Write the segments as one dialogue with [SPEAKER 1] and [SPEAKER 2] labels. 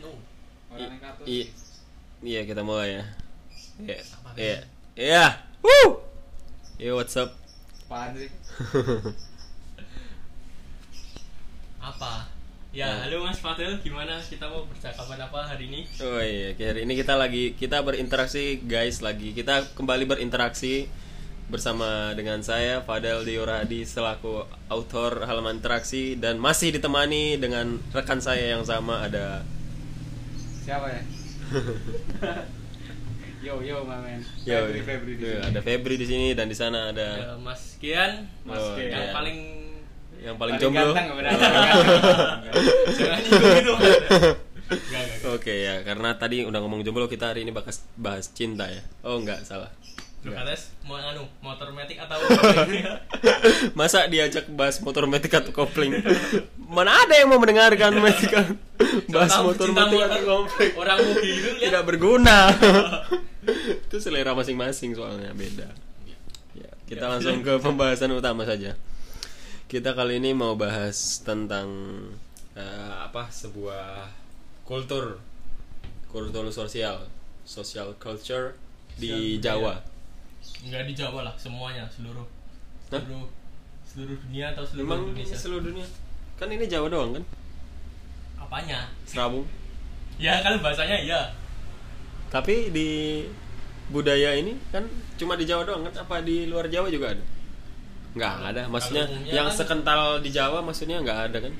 [SPEAKER 1] Oh,
[SPEAKER 2] I- Iya kita mulai ya. Iya. Iya. Iya. Woo. Yo what's up?
[SPEAKER 3] Apaan sih?
[SPEAKER 1] apa ya
[SPEAKER 2] Ya.
[SPEAKER 1] halo mas Fadil gimana kita mau bercakapan apa hari ini
[SPEAKER 2] Oh iya, hari ini kita lagi kita berinteraksi guys lagi. Kita kembali berinteraksi bersama dengan saya Fadel Dioradi selaku autor halaman interaksi dan masih ditemani dengan rekan saya yang sama ada
[SPEAKER 3] Siapa ya? yo yo my man.
[SPEAKER 2] Yo, Iya.
[SPEAKER 3] Febri Febri di
[SPEAKER 2] yo,
[SPEAKER 3] sini.
[SPEAKER 2] ada Febri di sini dan di
[SPEAKER 1] Ada
[SPEAKER 2] sana ada
[SPEAKER 1] Ya, mas Kian
[SPEAKER 3] Mas
[SPEAKER 2] oh,
[SPEAKER 3] Kian.
[SPEAKER 1] yang
[SPEAKER 2] iya.
[SPEAKER 1] paling
[SPEAKER 2] yang paling,
[SPEAKER 3] Paling
[SPEAKER 2] jomblo.
[SPEAKER 3] ganteng, benar. Ganteng.
[SPEAKER 1] jangan itu gitu Enggak, enggak, enggak.
[SPEAKER 2] Oke ya, karena tadi udah ngomong jomblo kita hari ini bahas bahas cinta ya. Oh enggak salah.
[SPEAKER 1] Lu
[SPEAKER 2] Enggak.
[SPEAKER 1] katanya mau anu motor matic atau
[SPEAKER 2] Masa diajak bahas motor metik atau kopling? Mana ada yang mau mendengarkan metik bahas
[SPEAKER 1] Tahu
[SPEAKER 2] motor
[SPEAKER 1] pecinta
[SPEAKER 2] metik atau kopling?
[SPEAKER 1] orang mau gitu ya
[SPEAKER 2] Tidak berguna. Itu selera masing-masing soalnya beda. Ya, kita langsung ke pembahasan utama saja. Kita kali ini mau bahas tentang eh, apa sebuah kultur kultur sosial, social culture di
[SPEAKER 1] Sosial budaya.
[SPEAKER 2] Jawa.
[SPEAKER 1] enggak di Jawa lah semuanya seluruh
[SPEAKER 2] Hah?
[SPEAKER 1] seluruh seluruh dunia atau seluruh
[SPEAKER 2] Memang
[SPEAKER 1] Indonesia
[SPEAKER 2] seluruh dunia. Kan ini Jawa doang kan?
[SPEAKER 1] apanya
[SPEAKER 2] Serabung.
[SPEAKER 1] ya kan bahasanya iya
[SPEAKER 2] Tapi di budaya ini kan cuma di Jawa doang kan? Apa di luar Jawa juga ada? Nggak ada. Maksudnya
[SPEAKER 1] Kalau umumnya
[SPEAKER 2] yang
[SPEAKER 1] kan-
[SPEAKER 2] sekental di Jawa maksudnya nggak ada kan?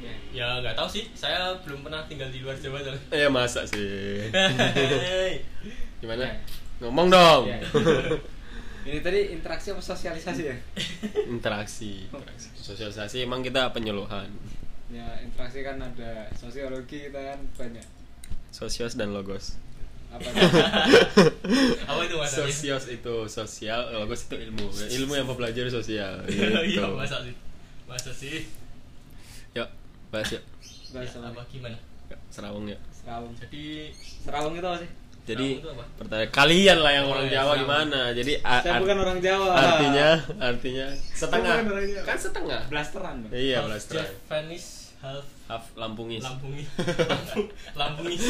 [SPEAKER 3] Ya.
[SPEAKER 1] ya nggak tahu sih saya belum pernah tinggal di luar Jawa soalnya.
[SPEAKER 2] Eh masa sih?
[SPEAKER 1] Hei.
[SPEAKER 2] Gimana?
[SPEAKER 3] Ya.
[SPEAKER 2] Ngomong dong.
[SPEAKER 3] Ya. Ini tadi interaksi apa sosialisasi ya?
[SPEAKER 2] interaksi, interaksi. Sosialisasi emang kita penyuluhan.
[SPEAKER 3] Ya interaksi kan ada sosiologi kita kan banyak.
[SPEAKER 2] Sosios dan logos.
[SPEAKER 3] Apa tuh?
[SPEAKER 1] apa itu mas
[SPEAKER 2] Sosios itu sosial, logos itu ilmu. Ilmu yang mempelajari sosial.
[SPEAKER 1] iya
[SPEAKER 2] gitu.
[SPEAKER 1] masa sih masa sih
[SPEAKER 2] Yuk, bahas yuk.
[SPEAKER 3] bahasa
[SPEAKER 1] ya, apa gimana
[SPEAKER 2] Yuk, Serawung yuk.
[SPEAKER 3] Serawung.
[SPEAKER 1] jadi
[SPEAKER 3] Serawung itu apa sih?
[SPEAKER 2] Jadi
[SPEAKER 1] Serawung itu apa?
[SPEAKER 2] pertanyaan kalian lah yang
[SPEAKER 1] Oh,
[SPEAKER 2] orang
[SPEAKER 1] iya,
[SPEAKER 2] Jawa
[SPEAKER 1] serawung.
[SPEAKER 2] gimana? Jadi a-
[SPEAKER 3] Saya
[SPEAKER 2] ar-
[SPEAKER 3] bukan orang Jawa.
[SPEAKER 2] artinya artinya setengah.
[SPEAKER 3] bukan orang Jawa.
[SPEAKER 2] Kan setengah.
[SPEAKER 3] blasteran. Bang.
[SPEAKER 2] Iya,
[SPEAKER 1] half
[SPEAKER 2] belas terang.
[SPEAKER 1] Japanese half
[SPEAKER 2] Half Lampungis.
[SPEAKER 1] lambungi lambungis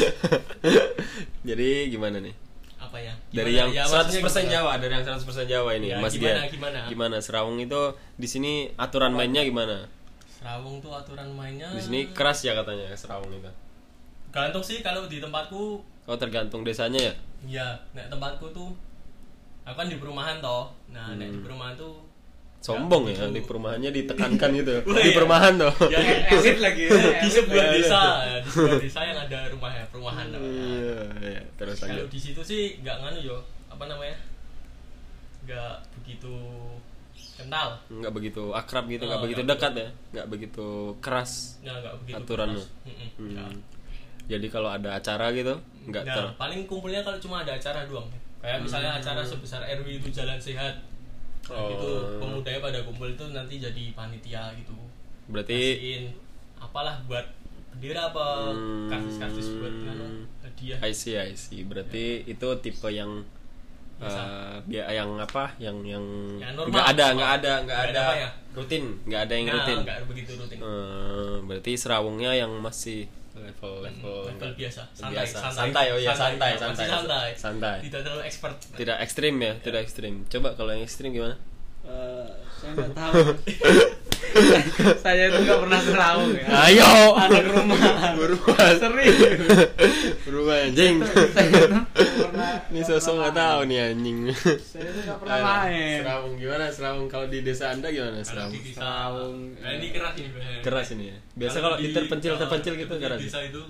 [SPEAKER 2] Jadi gimana nih?
[SPEAKER 1] apa ya Gimana?
[SPEAKER 2] dari yang
[SPEAKER 1] Ya, maksudnya
[SPEAKER 2] 100%
[SPEAKER 1] gimana?
[SPEAKER 2] Jawa, dari yang 100% Jawa ini,
[SPEAKER 1] Ya,
[SPEAKER 2] Mas
[SPEAKER 1] gimana,
[SPEAKER 2] Dian.
[SPEAKER 1] gimana?
[SPEAKER 2] Serawung itu di sini aturan mainnya gimana?
[SPEAKER 1] Serawung tuh aturan mainnya
[SPEAKER 2] Di sini keras ya katanya Serawung itu.
[SPEAKER 1] gantung sih kalau di tempatku
[SPEAKER 2] Oh, tergantung desanya ya.
[SPEAKER 1] ya nek tempatku tuh aku kan di perumahan toh nah nek di
[SPEAKER 2] Hmm.
[SPEAKER 1] perumahan tuh
[SPEAKER 2] Sombong ya,
[SPEAKER 1] begitu.
[SPEAKER 2] di perumahannya ditekankan gitu.
[SPEAKER 1] Wah,
[SPEAKER 2] Di
[SPEAKER 1] iya.
[SPEAKER 2] perumahan tuh.
[SPEAKER 1] ya,
[SPEAKER 3] Eh,
[SPEAKER 1] di-
[SPEAKER 3] Exit lagi.
[SPEAKER 2] Iya.
[SPEAKER 3] ya,
[SPEAKER 1] di
[SPEAKER 3] exit
[SPEAKER 1] sebuah
[SPEAKER 3] lagi.
[SPEAKER 1] desa ya, di sebuah desa yang ada rumah ya perumahan lah. Nah,
[SPEAKER 2] Iya, iya. terus
[SPEAKER 1] kalau
[SPEAKER 2] lanjut.
[SPEAKER 1] di situ sih nggak nganu yo apa namanya nggak begitu kental
[SPEAKER 2] Nggak begitu akrab gitu, nggak
[SPEAKER 1] Oh,
[SPEAKER 2] begitu
[SPEAKER 1] nggak
[SPEAKER 2] dekat ya. Nggak begitu keras
[SPEAKER 1] nggak nggak begitu
[SPEAKER 2] aturannya.
[SPEAKER 1] keras. Mm-mm, nggak.
[SPEAKER 2] Hmm. Jadi kalau ada acara gitu, nggak
[SPEAKER 1] Nggak,
[SPEAKER 2] ter Hmm.
[SPEAKER 1] paling kumpulnya kalau cuma ada acara doang kayak misalnya acara sebesar RW itu jalan sehat Nah,
[SPEAKER 2] Oh.
[SPEAKER 1] itu pemudanya pada kumpul itu nanti jadi panitia gitu
[SPEAKER 2] berarti
[SPEAKER 1] kasihin apalah buat bendera apa
[SPEAKER 2] Hmm.
[SPEAKER 1] kartis-kartis buat nganu hadiah
[SPEAKER 2] I see, I see. Berarti itu tipe yang
[SPEAKER 1] Ya. Biasa.
[SPEAKER 2] eh, bia- yang apa? Yang yang
[SPEAKER 1] Yang normal,
[SPEAKER 2] enggak ada,
[SPEAKER 1] normal.
[SPEAKER 2] nggak ada, nggak
[SPEAKER 1] Nggak
[SPEAKER 2] ada
[SPEAKER 1] ada apa ya?
[SPEAKER 2] rutin, nggak ada yang
[SPEAKER 1] Nah,
[SPEAKER 2] rutin.
[SPEAKER 1] nggak begitu rutin
[SPEAKER 2] Eh, berarti serawungnya yang masih level level,
[SPEAKER 1] Kan Hmm, level
[SPEAKER 2] nggak-
[SPEAKER 1] biasa, santai,
[SPEAKER 2] biasa.
[SPEAKER 1] santai.
[SPEAKER 2] santai, oh iya santai,
[SPEAKER 1] Santai,
[SPEAKER 2] santai,
[SPEAKER 1] masih santai.
[SPEAKER 2] santai.
[SPEAKER 1] tidak terlalu expert
[SPEAKER 2] Tidak ekstrim
[SPEAKER 1] Iya.
[SPEAKER 2] ya, tidak ekstrim. Coba kalau yang ekstrim gimana?
[SPEAKER 3] Eh, saya nggak tahu. saya itu nggak pernah serawung
[SPEAKER 1] Iya.
[SPEAKER 3] ya.
[SPEAKER 2] Ayo,
[SPEAKER 3] Anak rumahan.
[SPEAKER 2] Buruan.
[SPEAKER 3] Serius.
[SPEAKER 2] Berubah anjing. Ini
[SPEAKER 3] Ini
[SPEAKER 2] sosok nggak tahu nih anjing.
[SPEAKER 3] Saya tuh nggak pernah
[SPEAKER 2] Ayo,
[SPEAKER 3] main.
[SPEAKER 2] Serawung gimana? Serawung kalau di desa anda gimana?
[SPEAKER 1] Kalau
[SPEAKER 2] Serawung.
[SPEAKER 1] di desa-
[SPEAKER 3] Serawung.
[SPEAKER 1] nah, ini keras ini bahaya.
[SPEAKER 2] keras ini ya biasa kalau
[SPEAKER 1] di-
[SPEAKER 2] terpencil terpencil
[SPEAKER 1] kalau
[SPEAKER 2] gitu
[SPEAKER 1] di
[SPEAKER 2] keras
[SPEAKER 1] desa itu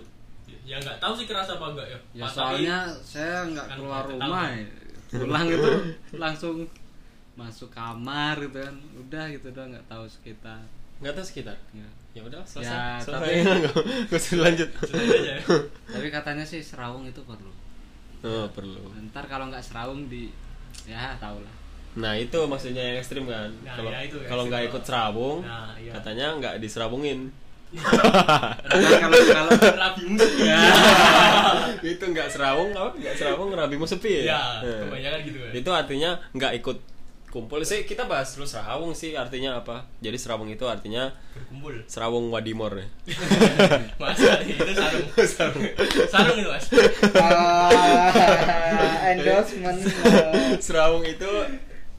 [SPEAKER 1] ya nggak tahu sih keras apa enggak ya,
[SPEAKER 3] Ya
[SPEAKER 1] Pak,
[SPEAKER 3] soalnya saya nggak
[SPEAKER 1] Kan
[SPEAKER 3] keluar
[SPEAKER 1] pakai
[SPEAKER 3] rumah.
[SPEAKER 1] tali.
[SPEAKER 3] ya. Pulang itu langsung masuk kamar gitu kan. Udah gitu doang nggak tahu sekitar.
[SPEAKER 2] nggak tahu sekitar
[SPEAKER 3] Ya.
[SPEAKER 2] ya udah
[SPEAKER 3] selesai. Ya,
[SPEAKER 2] selesai selesai
[SPEAKER 3] tapi-
[SPEAKER 2] gue sudah lanjut
[SPEAKER 1] tapi sudah aja ya.
[SPEAKER 3] Tapi katanya sih serawung itu perlu.
[SPEAKER 2] oh perlu
[SPEAKER 3] Ntar kalau nggak serawung di ya tau lah.
[SPEAKER 2] nah itu maksudnya yang ekstrim kan
[SPEAKER 1] Nah,
[SPEAKER 2] kalau
[SPEAKER 1] ya itu yang
[SPEAKER 2] kalau nggak
[SPEAKER 1] ekstrim.
[SPEAKER 2] ikut serabung
[SPEAKER 1] Nah, iya.
[SPEAKER 2] katanya nggak diserabungin
[SPEAKER 3] Ntar kalau kalau
[SPEAKER 1] rabi musik
[SPEAKER 2] Iya.
[SPEAKER 1] ya
[SPEAKER 2] itu nggak serabung apa nggak serabung rabimu sepi
[SPEAKER 1] ya
[SPEAKER 2] ya, Nah.
[SPEAKER 1] kebanyakan gitu kan
[SPEAKER 2] itu artinya nggak ikut kumpul sih kita bahas dulu serawung sih artinya apa jadi serawung itu artinya
[SPEAKER 1] berkumpul
[SPEAKER 2] serawung wadimor ya
[SPEAKER 1] mas itu sarung sarung sarung itu mas
[SPEAKER 4] Ah, endorsement eh,
[SPEAKER 2] serawung itu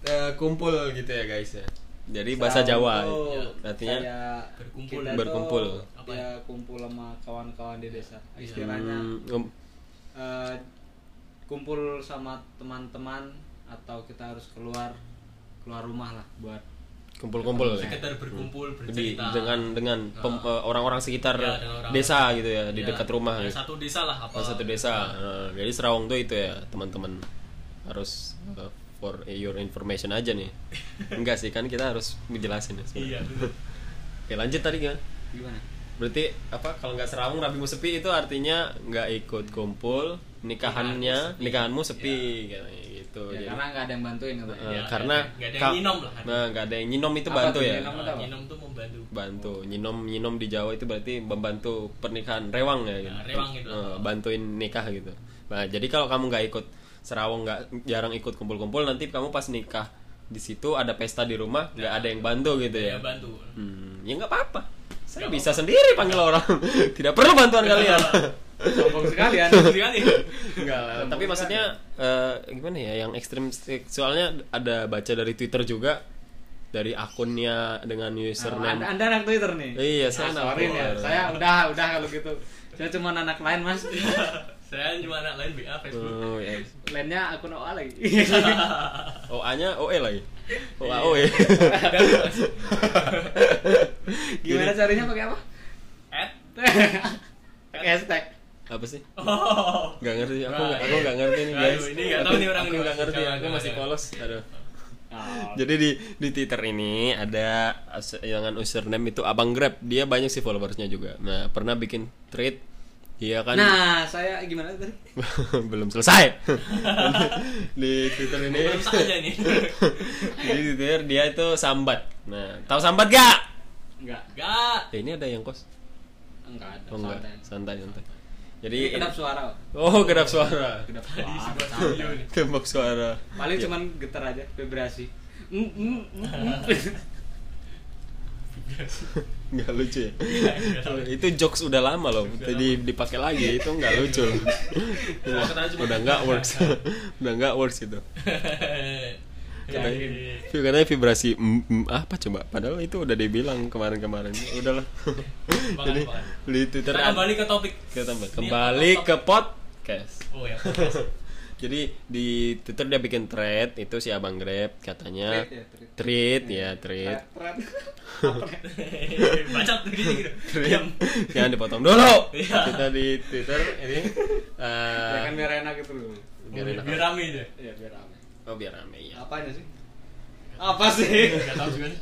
[SPEAKER 2] eh, kumpul gitu ya guys ya jadi bahasa Jawa
[SPEAKER 4] Serawung tuh
[SPEAKER 2] ya. artinya
[SPEAKER 4] kayak
[SPEAKER 1] Berkumpul.
[SPEAKER 4] kita tuh
[SPEAKER 2] Berkumpul.
[SPEAKER 1] Apa
[SPEAKER 4] ya
[SPEAKER 1] ya?
[SPEAKER 4] kumpul sama kawan-kawan di desa
[SPEAKER 3] Iya.
[SPEAKER 4] istilahnya
[SPEAKER 2] hmm, um,
[SPEAKER 4] eh, kumpul sama teman-teman atau kita harus keluar keluar rumah lah buat
[SPEAKER 2] kumpul-kumpul ya.
[SPEAKER 1] sekedar berkumpul
[SPEAKER 2] Di-
[SPEAKER 1] bercerita
[SPEAKER 2] dengan dengan pem-
[SPEAKER 1] Ah.
[SPEAKER 2] eh, orang-orang sekitar
[SPEAKER 1] Ya, dengan orang-
[SPEAKER 2] desa gitu ya di
[SPEAKER 1] Ya,
[SPEAKER 2] dekat rumah
[SPEAKER 1] ya,
[SPEAKER 2] ya.
[SPEAKER 1] satu desa lah apa
[SPEAKER 2] Pas satu desa. Nah, jadi Serawung tuh itu ya, teman-teman. Harus uh, for your information aja nih. Enggak sih, kan kita harus ngejelasin ya sebenarnya.
[SPEAKER 1] iya betul
[SPEAKER 2] Oke, lanjut tadi nggak?
[SPEAKER 3] gimana
[SPEAKER 2] Berarti apa kalau nggak Serawung Rabimu sepi itu artinya nggak ikut kumpul, nikahannya, nikahanmu sepi katanya gitu.
[SPEAKER 3] ya,
[SPEAKER 2] Jadi,
[SPEAKER 3] karena nggak ada yang bantuin gitu
[SPEAKER 2] eh,
[SPEAKER 1] Ya,
[SPEAKER 2] karena
[SPEAKER 1] Iya. nggak ada yang
[SPEAKER 2] ka-
[SPEAKER 1] nyinom lah.
[SPEAKER 2] Nah, nggak ada yang nyinom itu
[SPEAKER 3] Apa
[SPEAKER 2] bantu
[SPEAKER 3] tuh
[SPEAKER 2] ya.
[SPEAKER 3] yang kamu tahu?
[SPEAKER 1] nyinom Eh, tuh membantu
[SPEAKER 2] bantu nyinom nyinom di Jawa itu berarti membantu pernikahan rewang ya gitu.
[SPEAKER 1] Ya, rewang gitu.
[SPEAKER 2] Eh, bantuin nikah gitu nah jadi kalau kamu nggak ikut serawung nggak jarang ikut kumpul-kumpul nanti kamu pas nikah di situ ada pesta di rumah nggak ada yang bantu gitu
[SPEAKER 1] ya
[SPEAKER 2] ya
[SPEAKER 1] bantu
[SPEAKER 2] hmm, ya nggak apa-apa saya bisa sendiri panggil orang tidak perlu bantuan
[SPEAKER 1] Iya.
[SPEAKER 2] kalian
[SPEAKER 3] sombong sekali ya
[SPEAKER 1] sekali
[SPEAKER 2] Nggak lah, tapi maksudnya eh, gimana ya yang ekstrim soalnya ada baca dari Twitter juga dari
[SPEAKER 1] Ah,
[SPEAKER 2] akunnya dengan
[SPEAKER 3] anda,
[SPEAKER 2] username
[SPEAKER 3] anda Ah, anak Twitter nih
[SPEAKER 2] Iya,
[SPEAKER 3] Ah,
[SPEAKER 2] saya anak
[SPEAKER 3] sorry nih,
[SPEAKER 2] Twitter.
[SPEAKER 3] saya udah udah kalau gitu saya cuma anak lain mas
[SPEAKER 1] saya cuma anak lain BA Facebook
[SPEAKER 2] Oh, ya.
[SPEAKER 3] lainnya akun OA lagi
[SPEAKER 2] Iya. OA-nya OE E lagi. OA OE.
[SPEAKER 1] Iya,
[SPEAKER 3] gimana carinya pakai apa
[SPEAKER 1] at
[SPEAKER 3] pakai hashtag
[SPEAKER 2] Apa sih?
[SPEAKER 1] oh
[SPEAKER 2] Gak ngerti. Aku
[SPEAKER 1] Nah,
[SPEAKER 2] aku
[SPEAKER 1] iya.
[SPEAKER 2] gak ngerti nih
[SPEAKER 1] Aduh,
[SPEAKER 2] guys.
[SPEAKER 1] ini nggak
[SPEAKER 2] Aku-
[SPEAKER 1] tahu nih orang ini,
[SPEAKER 2] aku
[SPEAKER 1] ya.
[SPEAKER 2] gak
[SPEAKER 1] Mas.
[SPEAKER 2] ngerti.
[SPEAKER 1] Jangan,
[SPEAKER 2] Aku
[SPEAKER 1] jangan,
[SPEAKER 2] masih
[SPEAKER 1] jangan.
[SPEAKER 2] polos. Aduh.
[SPEAKER 3] Oh,
[SPEAKER 2] Jadi di di Twitter ini ada us- dengan username itu Abang Grab. Dia banyak sih followersnya juga. Nah, pernah bikin tweet dia kan
[SPEAKER 3] nah saya gimana tadi
[SPEAKER 2] belum selesai di Twitter ini
[SPEAKER 1] belum saja nih
[SPEAKER 2] di Twitter dia itu sambat nah tahu sambat gak
[SPEAKER 3] enggak
[SPEAKER 1] gak
[SPEAKER 2] Eh, ini ada yang kos
[SPEAKER 3] enggak ada
[SPEAKER 2] oh, enggak santai santai jadi
[SPEAKER 3] jadi kedap suara kok.
[SPEAKER 2] Oh, kedap suara.
[SPEAKER 3] kedap
[SPEAKER 1] di
[SPEAKER 3] suara
[SPEAKER 1] sebuah
[SPEAKER 3] santai.
[SPEAKER 1] studio nih
[SPEAKER 2] Tembak suara.
[SPEAKER 3] paling
[SPEAKER 2] Ya.
[SPEAKER 3] cuman getar aja vibrasi Mm, mm, mm, mm.
[SPEAKER 2] nggak lucu ya.
[SPEAKER 1] nggak tahu.
[SPEAKER 2] itu jokes udah lama loh.
[SPEAKER 1] Udah
[SPEAKER 2] Tadi dipakai lagi itu nggak lucu. loh.
[SPEAKER 1] Nah, katanya cuma- Iya,
[SPEAKER 2] udah nggak works. udah nggak works itu. Katanya,
[SPEAKER 1] Yakin.
[SPEAKER 2] katanya vibrasi mm, mm, apa coba? Padahal itu udah dibilang kemarin-kemarin. Udahlah. Jadi
[SPEAKER 1] Kembangan,
[SPEAKER 2] di Twitter
[SPEAKER 1] Kita kembali ke topik
[SPEAKER 2] Kita tambah.
[SPEAKER 1] Ini
[SPEAKER 2] kembali
[SPEAKER 1] apa,
[SPEAKER 2] ke podcast.
[SPEAKER 1] oh ya podcast.
[SPEAKER 2] Jadi di Twitter dia bikin thread itu si Abang Grab katanya
[SPEAKER 4] Tweet ya, tweet.
[SPEAKER 2] tweet ya tweet.
[SPEAKER 4] Tret, tret.
[SPEAKER 1] bacot begini gitu diam
[SPEAKER 2] Jangan dipotong dulu.
[SPEAKER 1] Iya.
[SPEAKER 2] Kita di Twitter ini eh,
[SPEAKER 4] ya kan biar enak gitu loh
[SPEAKER 2] biar enak.
[SPEAKER 1] biar rame deh
[SPEAKER 4] ya biar rame
[SPEAKER 2] Oh, biar rame ya.
[SPEAKER 4] apanya sih apa sih
[SPEAKER 1] Gak tahu juga sih.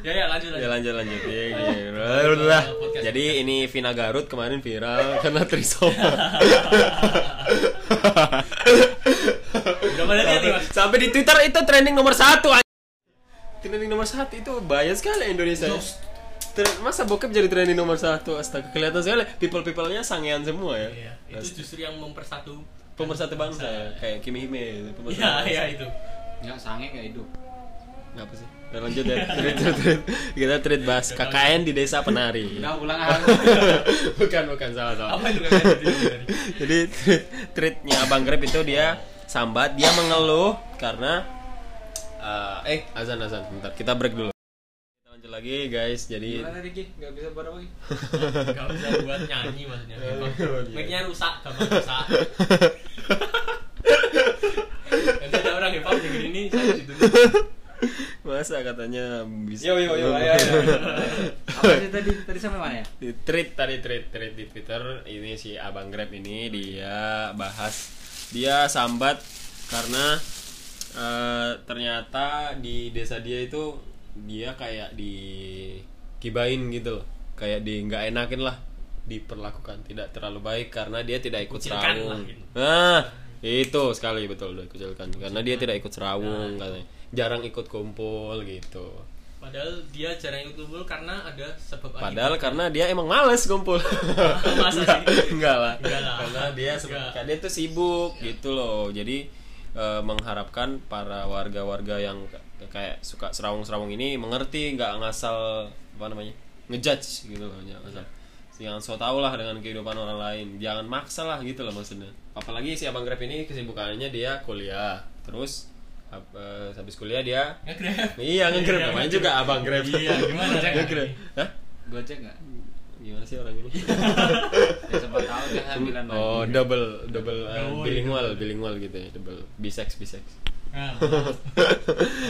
[SPEAKER 1] Ya ya lanjut
[SPEAKER 2] Ya
[SPEAKER 1] lanjut.
[SPEAKER 2] lanjut lanjut ya, gitu. Udah, udah.
[SPEAKER 1] Podcast.
[SPEAKER 2] Jadi ini Vina Garut kemarin viral karena trisoma.
[SPEAKER 1] Udah pada lihat nih mas.
[SPEAKER 2] Sampai di Twitter itu trending nomor satu. anj- Trending nomor satu itu bahaya sekali Indonesia. Tre- Masa bokep jadi trending nomor satu? Astaga, kelihatan sekali people-people-nya sangean semua ya.
[SPEAKER 1] Iya, itu justru yang mempersatu.
[SPEAKER 2] pemersatu bangsa ya, kayak Kimi Hime gitu, pemersatu
[SPEAKER 1] Ya
[SPEAKER 2] bangsa.
[SPEAKER 1] ya itu.
[SPEAKER 3] nggak sange nggak hidup
[SPEAKER 2] Nggak apa sih udah lanjut ya treat treat treat kita treat bahas KKN di desa penari
[SPEAKER 3] udah pulang ah
[SPEAKER 2] bukan bukan salah salah
[SPEAKER 1] Apa itu kan?
[SPEAKER 2] jadi treat treatnya abang grab itu dia sambat dia mengeluh karena eh, eh azan azan bentar kita break dulu kita lanjut lagi guys jadi
[SPEAKER 3] gimana tadi Ki? nggak bisa bawa lagi
[SPEAKER 1] Gak bisa buat nyanyi maksudnya.
[SPEAKER 4] Eh, iya.
[SPEAKER 1] Emang Mic-nya rusak, gampang rusak. Nanti ada orang hip hop yang ini saya situ.
[SPEAKER 2] masa katanya bisa
[SPEAKER 4] Yo, yo, yo, ayo, ayo.
[SPEAKER 3] apa sih tadi tadi sampai mana ya
[SPEAKER 2] di tweet tadi tweet tweet di Twitter ini si Abang Grab ini dia bahas dia sambat karena eh, ternyata di desa dia itu dia kayak dikibain gitu loh kayak di nggak enakin lah diperlakukan tidak terlalu baik karena dia tidak ikut
[SPEAKER 1] Dikucilkan
[SPEAKER 2] serawung
[SPEAKER 1] lah gitu.
[SPEAKER 2] nah itu sekali betul udah kucilkan karena dia tidak ikut
[SPEAKER 1] Ah.
[SPEAKER 2] serawung katanya jarang ikut kumpul gitu
[SPEAKER 1] Padahal dia jarang ikut kumpul karena ada sebab akibat.
[SPEAKER 2] Padahal karena dia emang males kumpul.
[SPEAKER 1] Masa sih?
[SPEAKER 2] Enggak, enggak lah.
[SPEAKER 1] Enggak lah. Iya.
[SPEAKER 2] Karena dia sebe-
[SPEAKER 1] Enggak.
[SPEAKER 2] karena dia tuh sibuk gitu loh. Jadi eh, mengharapkan para warga-warga yang k- kayak suka serawung-serawung ini mengerti nggak ngasal apa namanya ngejudge gitu loh nggak ngasal
[SPEAKER 1] Iya.
[SPEAKER 2] jangan so tau lah dengan kehidupan orang lain jangan maksa lah gitu loh maksudnya apalagi si abang grab ini kesibukannya dia kuliah terus hab- eh, habis kuliah dia
[SPEAKER 1] Nge-grab.
[SPEAKER 2] iya ngegrab
[SPEAKER 1] Iya,
[SPEAKER 2] namanya
[SPEAKER 1] nge-grab.
[SPEAKER 2] juga abang grab
[SPEAKER 1] Iya, gimana Cak?
[SPEAKER 2] Nge-grab. Hah?
[SPEAKER 4] Gojek nggak?
[SPEAKER 2] gimana sih orang ini
[SPEAKER 4] Ya sempat tahu dia hamilan lagi.
[SPEAKER 2] oh double double eh,
[SPEAKER 1] Double,
[SPEAKER 2] bilingual
[SPEAKER 1] double.
[SPEAKER 2] bilingual gitu ya double bisex bisex
[SPEAKER 1] Nah,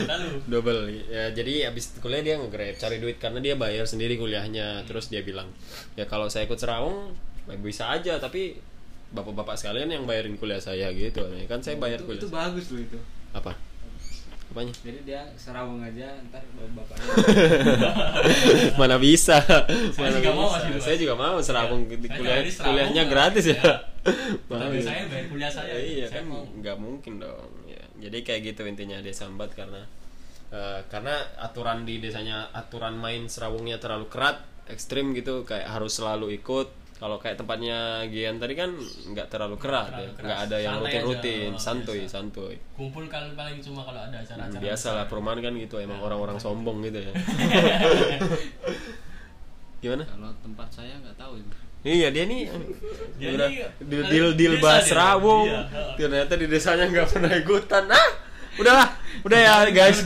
[SPEAKER 1] lalu
[SPEAKER 2] double ya jadi abis kuliah dia nge-grab cari duit karena dia bayar sendiri
[SPEAKER 1] Hmm.
[SPEAKER 2] kuliahnya terus dia bilang ya kalau saya ikut serawung ya bisa aja tapi bapak-bapak sekalian yang bayarin kuliah saya gitu Ya kan
[SPEAKER 1] Oh,
[SPEAKER 2] saya bayar
[SPEAKER 4] itu,
[SPEAKER 2] kuliah
[SPEAKER 4] itu
[SPEAKER 2] saya.
[SPEAKER 4] bagus loh itu.
[SPEAKER 2] apa apanya
[SPEAKER 4] Jadi dia serawung aja ntar bawa bapaknya.
[SPEAKER 2] mana bisa
[SPEAKER 1] Saya
[SPEAKER 2] Mana
[SPEAKER 1] juga mau
[SPEAKER 2] bisa.
[SPEAKER 1] masih dulu.
[SPEAKER 2] saya juga mau serawung
[SPEAKER 1] Iya.
[SPEAKER 2] di
[SPEAKER 1] Saya
[SPEAKER 2] kuliah
[SPEAKER 1] jadi serawung,
[SPEAKER 2] kuliahnya
[SPEAKER 1] Mas.
[SPEAKER 2] gratis ya,
[SPEAKER 1] Iya.
[SPEAKER 2] Mau
[SPEAKER 1] Tapi
[SPEAKER 2] ya.
[SPEAKER 1] saya bayar kuliah saya.
[SPEAKER 2] iya
[SPEAKER 1] saya
[SPEAKER 2] kan
[SPEAKER 1] mau.
[SPEAKER 2] nggak mungkin dong ya. jadi kayak gitu intinya dia sambat karena eh, karena aturan di desanya aturan main serawungnya terlalu kerat ekstrim gitu kayak harus selalu ikut kalau kayak tempatnya Gian tadi kan nggak terlalu kerat
[SPEAKER 1] Terlalu
[SPEAKER 2] ya
[SPEAKER 1] keras.
[SPEAKER 2] nggak ada yang
[SPEAKER 1] Santai aja,
[SPEAKER 2] rutin-rutin
[SPEAKER 1] oh,
[SPEAKER 2] santuy
[SPEAKER 1] biasa.
[SPEAKER 2] santuy
[SPEAKER 1] Kumpul kan paling cuma kalau ada acara-acara.
[SPEAKER 2] Hmm, biasa lah perumahan kan gitu emang
[SPEAKER 1] Iya.
[SPEAKER 2] orang-orang sombong gitu ya gimana
[SPEAKER 4] Kalau tempat saya nggak tahu ini.
[SPEAKER 2] Iya dia nih
[SPEAKER 1] Dia
[SPEAKER 2] udah
[SPEAKER 1] nih,
[SPEAKER 2] deal
[SPEAKER 1] ada
[SPEAKER 2] deal, deal
[SPEAKER 1] desa
[SPEAKER 2] bahas
[SPEAKER 1] dia.
[SPEAKER 2] rawung.
[SPEAKER 1] Iya, heeh.
[SPEAKER 2] Ternyata di desanya nggak pernah ikutan. Ah, udahlah, udah ya guys.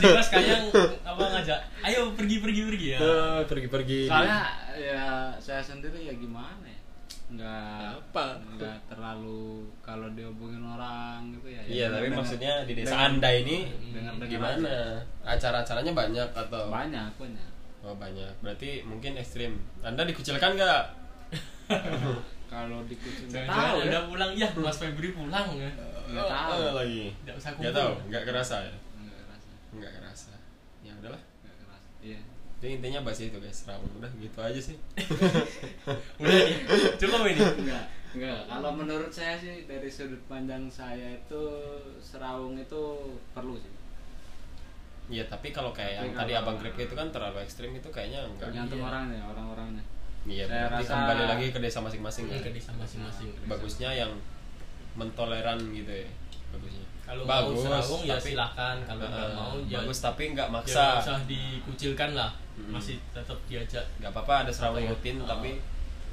[SPEAKER 1] Dulu di kelas kayaknya apa ngajak, ayo pergi pergi pergi ya.
[SPEAKER 2] Eh, Pergi-pergi.
[SPEAKER 4] Soalnya ya saya sendiri ya gimana ya? Nggak
[SPEAKER 2] Apa?
[SPEAKER 4] Nggak terlalu kalau diobongin orang gitu
[SPEAKER 2] Iya,
[SPEAKER 4] ya. ya
[SPEAKER 2] tapi
[SPEAKER 4] dengar-
[SPEAKER 2] maksudnya di desa
[SPEAKER 4] dengar-
[SPEAKER 2] Anda ini
[SPEAKER 4] dengar-dengar aja.
[SPEAKER 2] gimana? Acara-acaranya banyak atau?
[SPEAKER 4] Banyak banyak.
[SPEAKER 2] Oh banyak. Berarti mungkin ekstrim. Anda dikucilkan nggak?
[SPEAKER 4] Kalau dikucing nggak
[SPEAKER 1] Jangan-jangan
[SPEAKER 4] tahu Oh,
[SPEAKER 1] udah
[SPEAKER 4] ya.
[SPEAKER 1] pulang ya, Mas Febri pulang ya.
[SPEAKER 4] Nggak tahu.
[SPEAKER 2] Eh, lagi.
[SPEAKER 1] Nggak usah
[SPEAKER 2] Nggak
[SPEAKER 1] kumpul.
[SPEAKER 2] tahu. Nggak kerasa ya?
[SPEAKER 4] Nggak kerasa.
[SPEAKER 2] Nggak kerasa. Ya udahlah.
[SPEAKER 4] Nggak kerasa. Iya.
[SPEAKER 2] Jadi intinya bahas itu guys. Rawung udah gitu aja sih.
[SPEAKER 1] Udah nih, cukup ini.
[SPEAKER 4] Enggak, enggak. Kalau menurut saya sih dari sudut pandang saya itu serawung itu perlu sih.
[SPEAKER 2] Iya tapi kalau kayak yang
[SPEAKER 4] Tapi
[SPEAKER 2] tadi
[SPEAKER 4] kalau-
[SPEAKER 2] abang grab itu kan terlalu ekstrim itu kayaknya enggak.
[SPEAKER 4] Tergantung
[SPEAKER 1] Iya.
[SPEAKER 4] orangnya, orang-orangnya.
[SPEAKER 2] Iya
[SPEAKER 4] Saya
[SPEAKER 2] berarti
[SPEAKER 4] rasa-
[SPEAKER 2] kembali lagi ke desa masing-masing kan.
[SPEAKER 1] Iya, Ke desa masing-masing.
[SPEAKER 2] Bagusnya yang mentoleran gitu ya. Bagusnya.
[SPEAKER 1] Kalau mau serawung ya silakan, kalau nggak
[SPEAKER 2] Eh,
[SPEAKER 1] mau ya
[SPEAKER 2] bagus Hmm. tapi nggak
[SPEAKER 1] maksa.
[SPEAKER 2] maksa.
[SPEAKER 1] usah dikucilkan lah.
[SPEAKER 2] Mm-mm.
[SPEAKER 1] Masih tetap diajak.
[SPEAKER 2] Nggak apa-apa ada serawung
[SPEAKER 1] Apa ya?
[SPEAKER 2] rutin
[SPEAKER 1] Ah.
[SPEAKER 2] tapi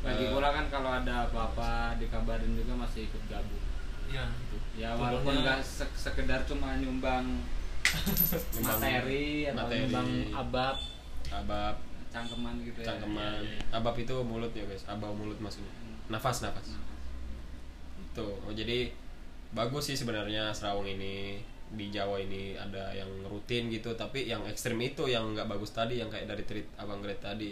[SPEAKER 4] Lagi
[SPEAKER 2] eh,
[SPEAKER 4] pula kan kalau ada apa-apa dikabarin juga masih ikut gabung.
[SPEAKER 1] Ya, gitu.
[SPEAKER 4] Ya walaupun
[SPEAKER 1] Contohnya-
[SPEAKER 4] enggak sek- sekedar cuma nyumbang
[SPEAKER 2] nyumbang
[SPEAKER 4] materi atau
[SPEAKER 2] materi,
[SPEAKER 4] nyumbang abab,
[SPEAKER 2] abab
[SPEAKER 4] cangkeman gitu ya.
[SPEAKER 2] cangkeman
[SPEAKER 1] iya,
[SPEAKER 2] abab itu mulut ya guys abab mulut maksudnya nafas nafas itu oh, jadi bagus sih sebenarnya serawung ini di Jawa ini ada yang rutin gitu tapi yang ekstrim itu yang nggak bagus tadi yang kayak dari tweet abang Gret tadi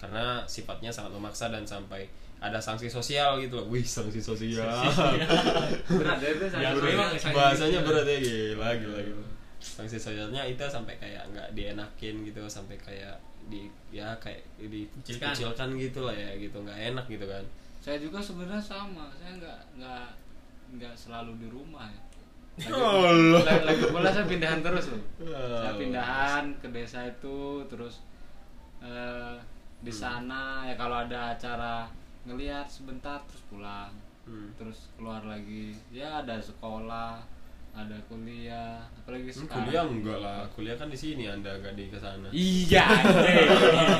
[SPEAKER 2] karena sifatnya sangat memaksa dan sampai ada sanksi sosial gitu loh wih sanksi sosial
[SPEAKER 4] Berat ya, itu
[SPEAKER 1] Ya,
[SPEAKER 4] saya.
[SPEAKER 2] Berat.
[SPEAKER 1] memang sanksi
[SPEAKER 2] Iya, bahasanya
[SPEAKER 1] sosial.
[SPEAKER 2] berat ya gila gila gitu sanksi sosialnya itu sampai kayak nggak dienakin gitu sampai kayak di ya kayak
[SPEAKER 1] Kucilkan.
[SPEAKER 2] dikucilkan gitu lah ya gitu nggak enak gitu kan
[SPEAKER 4] Saya juga sebenarnya sama, saya enggak enggak enggak selalu di rumah ya.
[SPEAKER 2] Allah.
[SPEAKER 4] lagi, lagi pula saya pindahan terus loh
[SPEAKER 2] Oh.
[SPEAKER 4] saya pindahan ke desa itu terus eh, di
[SPEAKER 2] Hmm.
[SPEAKER 4] sana ya kalau ada acara ngelihat sebentar terus pulang
[SPEAKER 2] Hmm.
[SPEAKER 4] terus keluar lagi ya ada sekolah ada kuliah apalagi
[SPEAKER 2] Hmm,
[SPEAKER 4] sekarang
[SPEAKER 2] kuliah enggak lah, kuliah kan di sini Anda enggak di kesana.
[SPEAKER 4] iya anjing.
[SPEAKER 1] iya.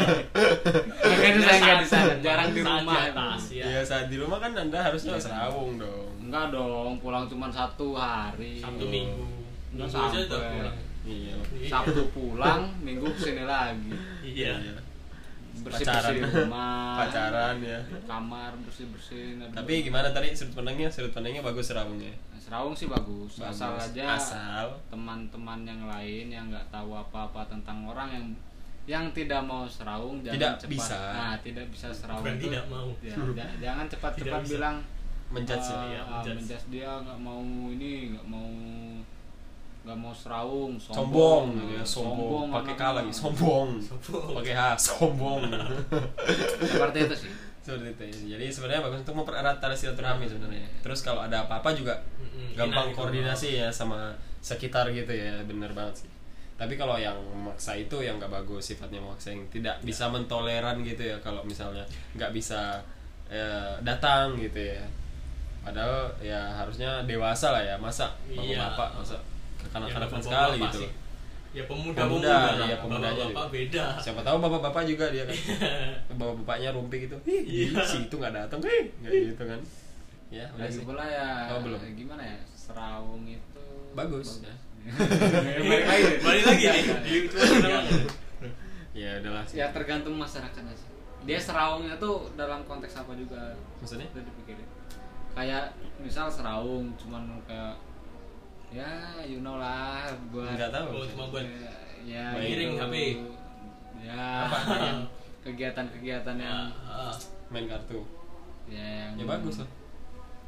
[SPEAKER 4] makanya saya nggak di sana jarang di
[SPEAKER 1] Saat
[SPEAKER 4] rumah
[SPEAKER 1] atas, ya.
[SPEAKER 2] Iya saat di rumah kan Anda harusnya serawung dong.
[SPEAKER 4] enggak dong pulang cuma satu hari
[SPEAKER 1] Sabtu minggu.
[SPEAKER 4] Nggak
[SPEAKER 1] Minggu aja
[SPEAKER 4] sampai.
[SPEAKER 1] udah pulang.
[SPEAKER 2] Iya.
[SPEAKER 4] Sabtu pulang minggu kesini lagi
[SPEAKER 1] Iya.
[SPEAKER 4] bersih
[SPEAKER 2] Pacaran.
[SPEAKER 4] bersih rumah
[SPEAKER 2] Pacaran ya.
[SPEAKER 4] kamar bersih bersih
[SPEAKER 2] Tapi gimana tadi sudut pandangnya? Sudut pandangnya bagus serawungnya.
[SPEAKER 4] serawung Nah, sih bagus,
[SPEAKER 2] Bagus.
[SPEAKER 4] asal aja
[SPEAKER 2] Asal.
[SPEAKER 4] teman-teman yang lain yang nggak tahu apa-apa tentang orang yang yang tidak mau serawung jangan
[SPEAKER 2] Tidak
[SPEAKER 4] cepat
[SPEAKER 2] bisa.
[SPEAKER 4] nah tidak bisa serawung
[SPEAKER 1] Bukan
[SPEAKER 4] itu
[SPEAKER 1] tidak mau.
[SPEAKER 4] ya, ja- jangan cepat-cepat
[SPEAKER 1] Tidak bisa.
[SPEAKER 4] bilang
[SPEAKER 2] Menjudge
[SPEAKER 4] "Ah,
[SPEAKER 1] ya,
[SPEAKER 4] ah,
[SPEAKER 1] menjudge.
[SPEAKER 4] menjudge dia nggak mau ini nggak mau nggak mau serawung
[SPEAKER 2] Sombong, gitu ya, sombong. Pakai K
[SPEAKER 4] anaknya."
[SPEAKER 2] lagi, sombong.
[SPEAKER 1] Sombong.
[SPEAKER 2] Pakai H, sombong.
[SPEAKER 4] seperti itu sih
[SPEAKER 2] Seperti itu. ya. Jadi sebenarnya bagus untuk mempererat tali silaturahmi sebenarnya. Terus kalau ada apa-apa juga
[SPEAKER 1] Mm-mm,
[SPEAKER 2] gampang
[SPEAKER 1] enak gitu.
[SPEAKER 2] koordinasi ya sama sekitar gitu ya, bener banget sih. Tapi kalau yang memaksa itu yang nggak bagus sifatnya memaksa yang
[SPEAKER 1] Iya.
[SPEAKER 2] tidak bisa mentoleran gitu ya kalau misalnya nggak bisa eh, datang gitu ya. padahal ya harusnya dewasa lah ya masa
[SPEAKER 1] Iya.
[SPEAKER 2] bapak masa kekanak-kanakan
[SPEAKER 1] bapak-bapak
[SPEAKER 2] sekali gitu
[SPEAKER 1] Iya, sih. Ya
[SPEAKER 2] Pemuda,
[SPEAKER 1] pemuda-pemuda.
[SPEAKER 2] iya,
[SPEAKER 1] Bapak-bapak
[SPEAKER 2] pemudanya juga.
[SPEAKER 1] beda.
[SPEAKER 2] siapa tahu bapak-bapak juga dia kan bapak-bapaknya rumpi gitu Ih,
[SPEAKER 1] Iya.
[SPEAKER 2] si itu nggak datang Ih, nggak gitu kan ya udah
[SPEAKER 4] lagi
[SPEAKER 2] sih
[SPEAKER 4] pula ya
[SPEAKER 2] Oh, belum.
[SPEAKER 4] gimana ya serawung itu
[SPEAKER 2] Bagus. Ya.
[SPEAKER 4] balik lagi
[SPEAKER 1] Balik lagi
[SPEAKER 4] Iya,
[SPEAKER 1] nih. Di- cuma kenapa nggak?
[SPEAKER 2] ya udahlah sih
[SPEAKER 4] ya tergantung masyarakatnya sih dia serawungnya tuh dalam konteks apa juga
[SPEAKER 2] Maksudnya?
[SPEAKER 4] Itu dipikirin kayak misal serawung cuman kayak ya you know lah buat
[SPEAKER 2] nggak tahu
[SPEAKER 1] Oh, cuma buat
[SPEAKER 4] ya
[SPEAKER 2] Main
[SPEAKER 4] gitu.
[SPEAKER 1] giring HP.
[SPEAKER 4] ya
[SPEAKER 1] Apa?
[SPEAKER 4] yang kegiatan-kegiatan yang
[SPEAKER 1] Ah, ah.
[SPEAKER 2] main kartu
[SPEAKER 4] ya, yang
[SPEAKER 2] ya bagus lah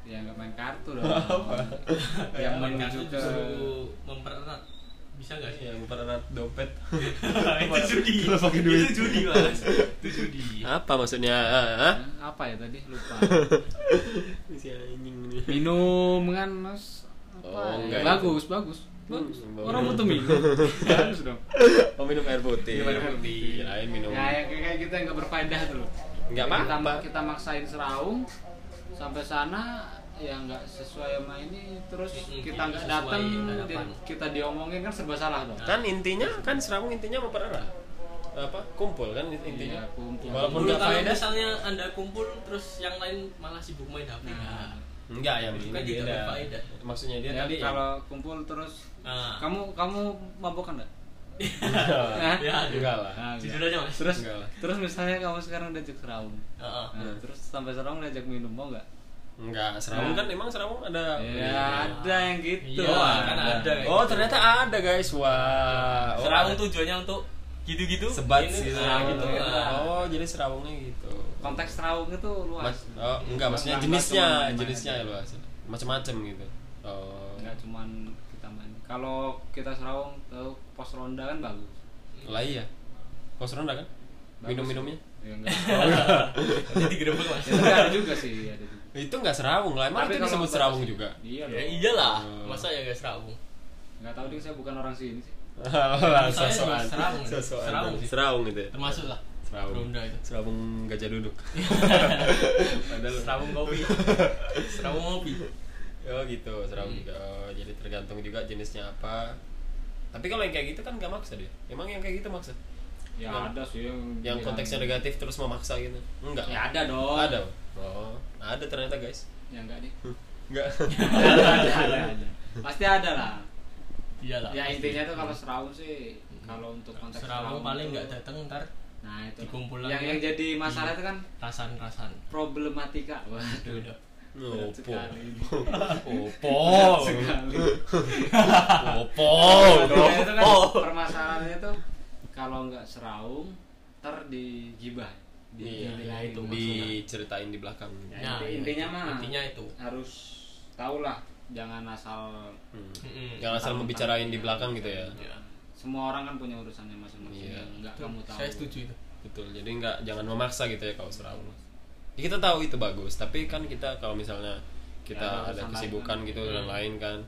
[SPEAKER 4] ya nggak main kartu dong
[SPEAKER 1] Ya,
[SPEAKER 4] yang menuju
[SPEAKER 1] kartu
[SPEAKER 4] ke
[SPEAKER 1] justru mempererat bisa nggak sih?
[SPEAKER 2] ya mempererat dompet
[SPEAKER 1] itu judi.
[SPEAKER 2] Kalau pakai duit.
[SPEAKER 1] Itu judi mas. Itu judi.
[SPEAKER 2] apa maksudnya ah, ah?
[SPEAKER 4] Hah? apa ya tadi lupa
[SPEAKER 2] si anjing ini
[SPEAKER 4] minum kan mas apa
[SPEAKER 2] Oh,
[SPEAKER 4] ya?
[SPEAKER 2] enggak
[SPEAKER 4] bagus bagus bagus
[SPEAKER 2] Hmm,
[SPEAKER 4] orang
[SPEAKER 2] bagus.
[SPEAKER 4] butuh minum bagus dong
[SPEAKER 2] oh minum air putih
[SPEAKER 1] Minum air putih.
[SPEAKER 2] iya, lain minum Ya,
[SPEAKER 4] ya yang kayak kita nggak berfaedah tuh loh.
[SPEAKER 2] Nggak
[SPEAKER 4] Kita-
[SPEAKER 2] apa-apa.
[SPEAKER 4] kita, maksain seraung sampai sana ya nggak sesuai sama ini terus
[SPEAKER 1] Mm-mm,
[SPEAKER 4] kita
[SPEAKER 1] iya,
[SPEAKER 4] nggak
[SPEAKER 1] sesuai
[SPEAKER 4] datang
[SPEAKER 1] harapan.
[SPEAKER 4] di- kita diomongin kan serba salah dong
[SPEAKER 2] kan intinya kan serawung intinya mempererat apa kumpul kan intinya
[SPEAKER 4] Iya, kumpul.
[SPEAKER 2] walaupun
[SPEAKER 1] Dulu
[SPEAKER 2] nggak
[SPEAKER 1] kalau
[SPEAKER 2] faedah
[SPEAKER 1] misalnya anda kumpul terus yang lain malah sibuk main HP.
[SPEAKER 4] Nah.
[SPEAKER 1] Nah,
[SPEAKER 2] enggak yang
[SPEAKER 1] Itu
[SPEAKER 2] ini
[SPEAKER 1] kan tidak
[SPEAKER 2] beda
[SPEAKER 1] berfaedah.
[SPEAKER 2] maksudnya dia
[SPEAKER 4] Ya,
[SPEAKER 2] Iya, tadi
[SPEAKER 4] kalau kumpul terus
[SPEAKER 1] Nah.
[SPEAKER 4] kamu kamu mabok kan nggak?
[SPEAKER 2] Enggak.
[SPEAKER 4] Ya,
[SPEAKER 2] enggak lah
[SPEAKER 4] Nah,
[SPEAKER 1] jujur
[SPEAKER 4] enggak.
[SPEAKER 1] aja mas.
[SPEAKER 4] terus
[SPEAKER 2] Enggak lah.
[SPEAKER 4] terus misalnya kamu sekarang diajak serawung
[SPEAKER 1] Ah, ah.
[SPEAKER 4] nah,
[SPEAKER 2] Hmm.
[SPEAKER 4] terus sampai serawung diajak minum mau nggak
[SPEAKER 2] enggak serawung
[SPEAKER 4] Nah.
[SPEAKER 2] kan emang serawung ada Iya, kan?
[SPEAKER 4] ya ada yang gitu
[SPEAKER 1] Iya,
[SPEAKER 4] Wah.
[SPEAKER 1] kan ada.
[SPEAKER 2] oh ternyata ada guys wah oh,
[SPEAKER 1] Serawung
[SPEAKER 2] ada.
[SPEAKER 1] tujuannya untuk gitu-gitu.
[SPEAKER 2] sebat
[SPEAKER 1] Ini
[SPEAKER 2] sih
[SPEAKER 1] nah, gitu.
[SPEAKER 2] oh,
[SPEAKER 1] Nah.
[SPEAKER 2] oh jadi serawungnya gitu
[SPEAKER 4] konteks serawung itu luas
[SPEAKER 2] Mas, oh, enggak maksudnya
[SPEAKER 4] Nggak- nggak
[SPEAKER 2] jenisnya
[SPEAKER 4] cuman main
[SPEAKER 2] jenisnya
[SPEAKER 4] aja.
[SPEAKER 2] ya luas macam-macam gitu oh
[SPEAKER 4] nggak cuman kita main kalau kita serawung tuh pos ronda kan bagus
[SPEAKER 2] lah iya pos ronda kan
[SPEAKER 4] Bagus.
[SPEAKER 2] minum-minumnya
[SPEAKER 4] ya enggak
[SPEAKER 1] Nanti digerebek mas.
[SPEAKER 4] ya, tapi ada juga sih ada juga.
[SPEAKER 2] itu enggak serawung lah emang
[SPEAKER 4] Tapi
[SPEAKER 2] itu
[SPEAKER 4] kalau
[SPEAKER 2] disebut
[SPEAKER 4] batas-
[SPEAKER 2] serawung juga
[SPEAKER 4] iya
[SPEAKER 1] Ya
[SPEAKER 4] dong
[SPEAKER 1] iyalah,
[SPEAKER 2] Hmm.
[SPEAKER 1] masa ya guys serawung.
[SPEAKER 4] nggak tahu ding saya bukan orang sini sih
[SPEAKER 2] Alah,
[SPEAKER 1] Saya juga
[SPEAKER 2] sosokan.
[SPEAKER 1] serawung.
[SPEAKER 2] Sosokan.
[SPEAKER 1] Serawung sih.
[SPEAKER 2] Serawung gitu ya?
[SPEAKER 1] Termasuk lah.
[SPEAKER 2] Serawung.
[SPEAKER 1] Ronda itu.
[SPEAKER 2] Serawung gajah duduk. Padahal
[SPEAKER 1] Serawung kopi. Serawung kopi.
[SPEAKER 2] Oh gitu, serawung juga. Oh, jadi tergantung juga jenisnya apa. Tapi kalau yang kayak gitu kan nggak maksa deh. Emang yang kayak gitu maksa?
[SPEAKER 4] ya
[SPEAKER 2] Nah,
[SPEAKER 4] ada sih
[SPEAKER 2] Yang
[SPEAKER 4] bilang-
[SPEAKER 2] konteksnya negatif terus memaksa gitu? Enggak.
[SPEAKER 4] ya Iya. ada dong
[SPEAKER 2] Ada. Oh, ada ternyata guys.
[SPEAKER 4] ya enggak deh
[SPEAKER 2] Enggak.
[SPEAKER 4] ada, ada, ada, ada. pasti ada lah
[SPEAKER 1] Iyalah.
[SPEAKER 4] ya intinya tuh kalau serawung sih kalau untuk konteks
[SPEAKER 1] Serawung paling nggak ya.
[SPEAKER 4] tuh-
[SPEAKER 1] datang ntar
[SPEAKER 4] nah itu
[SPEAKER 1] dikumpulan
[SPEAKER 4] yang yang jadi
[SPEAKER 1] Hmm.
[SPEAKER 4] masalah itu kan
[SPEAKER 1] rasan-rasan.
[SPEAKER 4] problematika waduh
[SPEAKER 1] Udah.
[SPEAKER 2] Opo.
[SPEAKER 4] berat sekali.
[SPEAKER 2] Opo.
[SPEAKER 4] Berat sekali.
[SPEAKER 2] Opo.
[SPEAKER 1] Oh,
[SPEAKER 4] Nah, itu kan
[SPEAKER 2] Opo.
[SPEAKER 4] permasalahannya tuh kalau nggak seraung ter digibah di
[SPEAKER 2] Iya,
[SPEAKER 4] nilai itu
[SPEAKER 2] diceritain di belakang.
[SPEAKER 4] Ya, inti- intinya mah.
[SPEAKER 1] Nah, Intinya itu.
[SPEAKER 4] harus tahulah jangan asal
[SPEAKER 2] Hmm.
[SPEAKER 1] Mm-mm.
[SPEAKER 2] Yang asal membicarain di belakang gitu ya.
[SPEAKER 1] Ya.
[SPEAKER 4] semua orang kan punya urusannya masing-masing
[SPEAKER 2] Iya.
[SPEAKER 4] yang nggak
[SPEAKER 1] Itu
[SPEAKER 4] kamu tahu
[SPEAKER 1] Saya setuju itu.
[SPEAKER 2] Betul. Jadi nggak jangan memaksa gitu ya kalau serawung. Ya, kita tahu itu bagus, tapi kan kita kalau misalnya kita
[SPEAKER 4] Ya, ada
[SPEAKER 2] ada
[SPEAKER 4] urusan
[SPEAKER 2] kesibukan
[SPEAKER 4] lain
[SPEAKER 2] gitu dan
[SPEAKER 1] Hmm.
[SPEAKER 2] lain kan.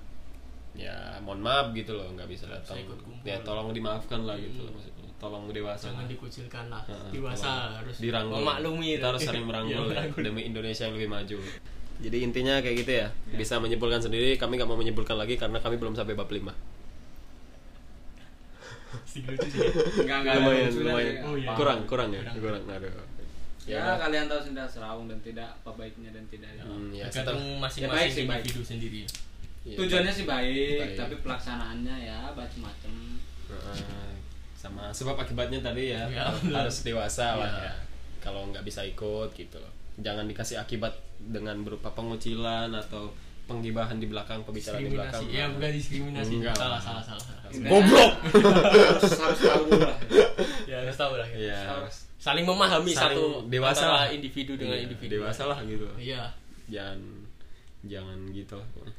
[SPEAKER 2] Ya, mohon maaf gitu loh, nggak bisa datang.
[SPEAKER 1] Saya ikut kumpul.
[SPEAKER 2] Ya, tolong dimaafkan lah gitu
[SPEAKER 1] Hmm.
[SPEAKER 2] loh maksudnya. Tolong dewasa.
[SPEAKER 1] Jangan
[SPEAKER 2] lah.
[SPEAKER 1] dikucilkan lah.
[SPEAKER 2] Heeh, tolong.
[SPEAKER 1] Dewasa harus
[SPEAKER 2] Nah, dirangkul.
[SPEAKER 1] memaklumi.
[SPEAKER 2] Kita harus saling merangkul
[SPEAKER 1] Iya,
[SPEAKER 2] ya, demi Indonesia yang lebih maju.
[SPEAKER 1] Ya.
[SPEAKER 2] Jadi intinya kayak gitu ya. Bisa menyimpulkan sendiri, kami nggak mau menyimpulkan lagi karena kami belum sampai bab 5.
[SPEAKER 1] Sedikit lucu sih.
[SPEAKER 4] nggak nggak ada
[SPEAKER 2] lumayan,
[SPEAKER 4] urusannya
[SPEAKER 2] lumayan.
[SPEAKER 4] sih.
[SPEAKER 1] Oh, iya.
[SPEAKER 2] Kurang, kurang ya.
[SPEAKER 1] Kurang.
[SPEAKER 2] Kurang. Aduh.
[SPEAKER 4] ya,
[SPEAKER 2] Ya,
[SPEAKER 4] kalian tahu sendiri seraung dan tidak apa baiknya dan tidak
[SPEAKER 2] Hmm, ya, setelah-
[SPEAKER 1] tergantung
[SPEAKER 4] Ya, baik sih,
[SPEAKER 1] masing-masing
[SPEAKER 4] baik.
[SPEAKER 1] individu sendiri
[SPEAKER 2] ya.
[SPEAKER 4] tujuannya sih baik,
[SPEAKER 2] Baik.
[SPEAKER 4] tapi pelaksanaannya ya macam-macam
[SPEAKER 2] Heeh. Nah, sama sebab akibatnya tadi ya,
[SPEAKER 1] Ya, benar.
[SPEAKER 2] harus dewasa lah
[SPEAKER 1] Ya.
[SPEAKER 2] ya. Kalau nggak bisa ikut gitu loh. Jangan dikasih akibat dengan berupa pengucilan atau penggibahan di belakang, pembicaraan di belakang.
[SPEAKER 1] diskriminasi ya bukan diskriminasi
[SPEAKER 2] Enggak.
[SPEAKER 1] salah salah salah salah
[SPEAKER 2] Goblok!
[SPEAKER 4] harus, harus tahu lah
[SPEAKER 1] ya harus tahu lah ya.
[SPEAKER 2] Iya.
[SPEAKER 4] harus
[SPEAKER 1] saling memahami
[SPEAKER 2] Saling
[SPEAKER 1] satu
[SPEAKER 2] dewasa
[SPEAKER 1] antara
[SPEAKER 2] lah.
[SPEAKER 1] individu dengan
[SPEAKER 2] Iya,
[SPEAKER 1] individu
[SPEAKER 2] Dewasa lah gitu. loh.
[SPEAKER 1] iya
[SPEAKER 2] Jangan jangan gitu lah. pokoknya.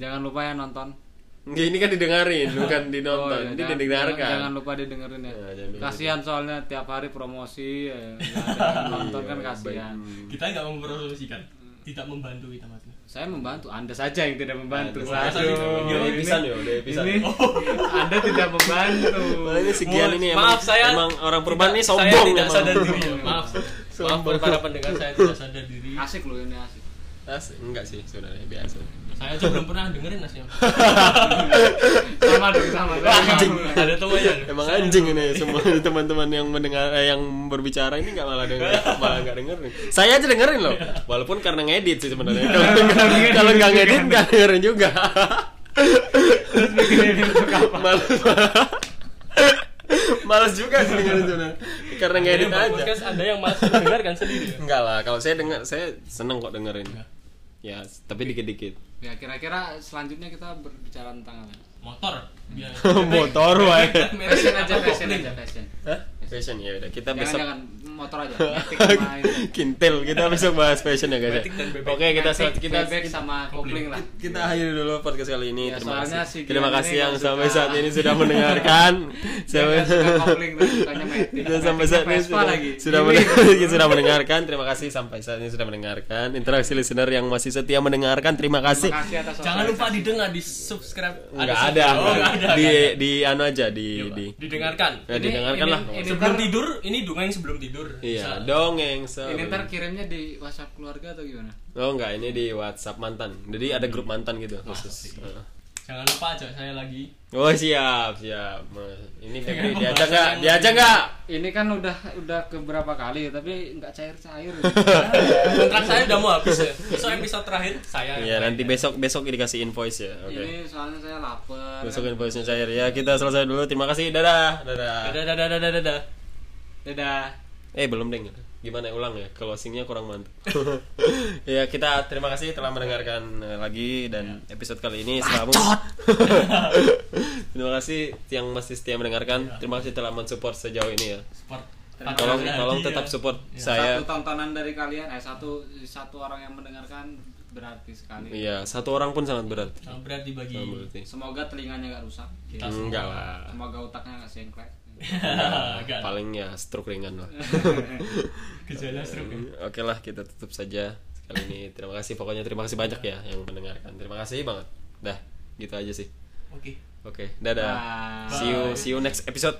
[SPEAKER 4] jangan lupa ya nonton
[SPEAKER 2] Nggak, ini kan didengarin, bukan dinonton.
[SPEAKER 4] Oh, iya,
[SPEAKER 2] ini
[SPEAKER 4] jangan-
[SPEAKER 2] didengarkan.
[SPEAKER 4] jangan, jangan lupa didengerin ya,
[SPEAKER 2] Iya, jangan lupa
[SPEAKER 4] kasihan soalnya tiap hari promosi ya, nggak ada yang nonton kan
[SPEAKER 2] Iya,
[SPEAKER 4] kasihan
[SPEAKER 2] baik.
[SPEAKER 1] kita nggak mempromosikan tidak membantu kita mas
[SPEAKER 4] saya membantu anda saja yang tidak membantu
[SPEAKER 2] Anda saja
[SPEAKER 4] Waduh,
[SPEAKER 2] tidak membantu. Dia pisan, yo, dia pisan.
[SPEAKER 4] ini anda tidak membantu
[SPEAKER 2] Wah, ini sekian
[SPEAKER 1] Mohon
[SPEAKER 2] ini emang,
[SPEAKER 1] maaf, saya
[SPEAKER 2] emang orang perubahan ini
[SPEAKER 1] Tidak-
[SPEAKER 2] sombong
[SPEAKER 1] saya tidak
[SPEAKER 2] emang.
[SPEAKER 1] sadar diri ya. maaf maaf
[SPEAKER 2] Sombong.
[SPEAKER 1] buat para pendengar saya tidak sadar diri
[SPEAKER 4] asik loh ini asik
[SPEAKER 2] As, enggak sih sebenarnya biasa.
[SPEAKER 1] Saya aja belum pernah dengerin ya. asnya.
[SPEAKER 4] sama dong sama
[SPEAKER 2] Anjing.
[SPEAKER 1] Ada temannya. loh.
[SPEAKER 2] Emang
[SPEAKER 1] Saya
[SPEAKER 2] anjing
[SPEAKER 1] belum-
[SPEAKER 2] ini semua teman-teman yang mendengar eh, yang berbicara ini nggak malah denger, malah nggak dengerin. Saya aja dengerin loh,
[SPEAKER 1] Iya.
[SPEAKER 2] walaupun karena ngedit sih sebenarnya. Kalau nggak- Kalau nggak ngedit nggak dengerin juga. Males, males juga sih dengerin sebenarnya, karena
[SPEAKER 1] Ada
[SPEAKER 2] ngedit
[SPEAKER 1] yang buat
[SPEAKER 2] aja.
[SPEAKER 1] podcast, Ada yang malas mendengarkan sendiri. ya?
[SPEAKER 2] Enggak lah, kalau saya dengar saya seneng kok dengerin.
[SPEAKER 1] Iya.
[SPEAKER 2] Ya, tapi dikit-dikit.
[SPEAKER 4] ya kira-kira selanjutnya kita berbicara tentang apa
[SPEAKER 1] Motor. bilang.
[SPEAKER 2] Motor wae.
[SPEAKER 4] fashion aja
[SPEAKER 1] Apa
[SPEAKER 4] fashion
[SPEAKER 1] kopling?
[SPEAKER 4] aja fashion
[SPEAKER 2] Hah? Fashion ya udah kita
[SPEAKER 4] jangan
[SPEAKER 2] besok
[SPEAKER 4] jangan motor aja metik sama ini.
[SPEAKER 2] Kintil, kita besok bahas fashion ya guys. ya.
[SPEAKER 1] Batik dan bebek.
[SPEAKER 2] Oke, kita
[SPEAKER 4] Metik,
[SPEAKER 2] sel- kita
[SPEAKER 4] bebek sama
[SPEAKER 1] kopling.
[SPEAKER 4] kopling lah
[SPEAKER 2] kita akhiri dulu podcast kali ini.
[SPEAKER 4] Ya,
[SPEAKER 2] terima
[SPEAKER 4] soalnya
[SPEAKER 2] kasih.
[SPEAKER 4] si Gian
[SPEAKER 2] terima
[SPEAKER 4] ini
[SPEAKER 2] kasih
[SPEAKER 4] nggak
[SPEAKER 2] yang sampai
[SPEAKER 4] suka-
[SPEAKER 2] saat ini sudah mendengarkan.
[SPEAKER 4] Dia
[SPEAKER 2] Sampai-
[SPEAKER 4] nggak suka kopling, dia sukanya metik.
[SPEAKER 2] Sudah sampai
[SPEAKER 4] Metiknya
[SPEAKER 2] saat ini
[SPEAKER 4] Vespa
[SPEAKER 2] sudah,
[SPEAKER 4] lagi.
[SPEAKER 2] sudah,
[SPEAKER 4] Ini.
[SPEAKER 2] mendengarkan, sudah mendengarkan. Terima kasih sampai saat ini sudah mendengarkan. Interaksi listener yang masih setia mendengarkan, terima kasih.
[SPEAKER 4] Terima kasih atas
[SPEAKER 1] Jangan
[SPEAKER 4] waktunya.
[SPEAKER 1] lupa didengar, di subscribe.
[SPEAKER 2] Enggak ada.
[SPEAKER 1] Oh, nggak ada.
[SPEAKER 2] Di
[SPEAKER 1] nggak ada.
[SPEAKER 2] di anu aja di
[SPEAKER 1] Iya,
[SPEAKER 2] di.
[SPEAKER 1] Pak. didengarkan.
[SPEAKER 2] Ya,
[SPEAKER 4] Ini-
[SPEAKER 2] didengarkan
[SPEAKER 4] ini-
[SPEAKER 2] lah.
[SPEAKER 4] ini
[SPEAKER 1] Sebelum
[SPEAKER 4] ntar-
[SPEAKER 1] tidur, ini kan- dongeng sebelum tidur.
[SPEAKER 2] Iya,
[SPEAKER 1] Bisa.
[SPEAKER 2] dongeng.
[SPEAKER 4] ini
[SPEAKER 2] sebelum-
[SPEAKER 4] ntar kirimnya di WhatsApp keluarga atau gimana
[SPEAKER 2] Oh enggak, ini di WhatsApp mantan. Jadi ada grup mantan gitu khusus. Heeh.
[SPEAKER 1] Jangan lupa aja saya lagi.
[SPEAKER 2] Oh siap siap. Mas. Ini Febri
[SPEAKER 1] Dengan
[SPEAKER 2] diajak nggak?
[SPEAKER 1] pembahasan yang-
[SPEAKER 2] Diajak nggak?
[SPEAKER 4] ini kan udah udah keberapa kali tapi nggak cair cair
[SPEAKER 1] Kontrak saya udah mau habis ya. Besok episode terakhir saya.
[SPEAKER 2] Iya nanti besok besok dikasih invoice ya. Oke.
[SPEAKER 4] ini soalnya saya lapar
[SPEAKER 2] Besok invoice nya cair ya. Kita selesai dulu. Terima kasih. Dadah. Dadah.
[SPEAKER 1] Dadah dadah dadah dadah.
[SPEAKER 4] dadah
[SPEAKER 2] Eh belum deng. Gimana ulang ya? Closingnya kurang mantap. ya kita terima kasih telah mendengarkan eh, lagi dan episode kali ini selamu. terima kasih yang masih setia mendengarkan. Terima kasih telah mensupport sejauh ini ya.
[SPEAKER 1] Support.
[SPEAKER 2] Tolong
[SPEAKER 1] Pacar
[SPEAKER 2] tolong
[SPEAKER 1] Nadia.
[SPEAKER 2] tetap support saya.
[SPEAKER 4] Iya. satu tontonan dari kalian eh satu satu orang yang mendengarkan berarti sekali
[SPEAKER 2] Iya, satu orang pun sangat berat.
[SPEAKER 4] Iya.
[SPEAKER 1] Sangat berarti bagi.
[SPEAKER 2] Sangat berarti. Hmm,
[SPEAKER 4] semoga telinganya nggak rusak
[SPEAKER 1] Kita semua.
[SPEAKER 2] Enggak lah.
[SPEAKER 4] semoga otaknya nggak sengklek
[SPEAKER 1] Enggak.
[SPEAKER 2] Paling ya stroke ringan lah.
[SPEAKER 1] Gejala stroke. ya.
[SPEAKER 2] Oke lah, kita tutup saja kali ini. Terima kasih pokoknya terima kasih banyak ya yang mendengarkan. Terima kasih banget. Dah, gitu aja sih.
[SPEAKER 1] Oke.
[SPEAKER 2] Oke, dadah.
[SPEAKER 4] Bye.
[SPEAKER 2] See you see you next episode.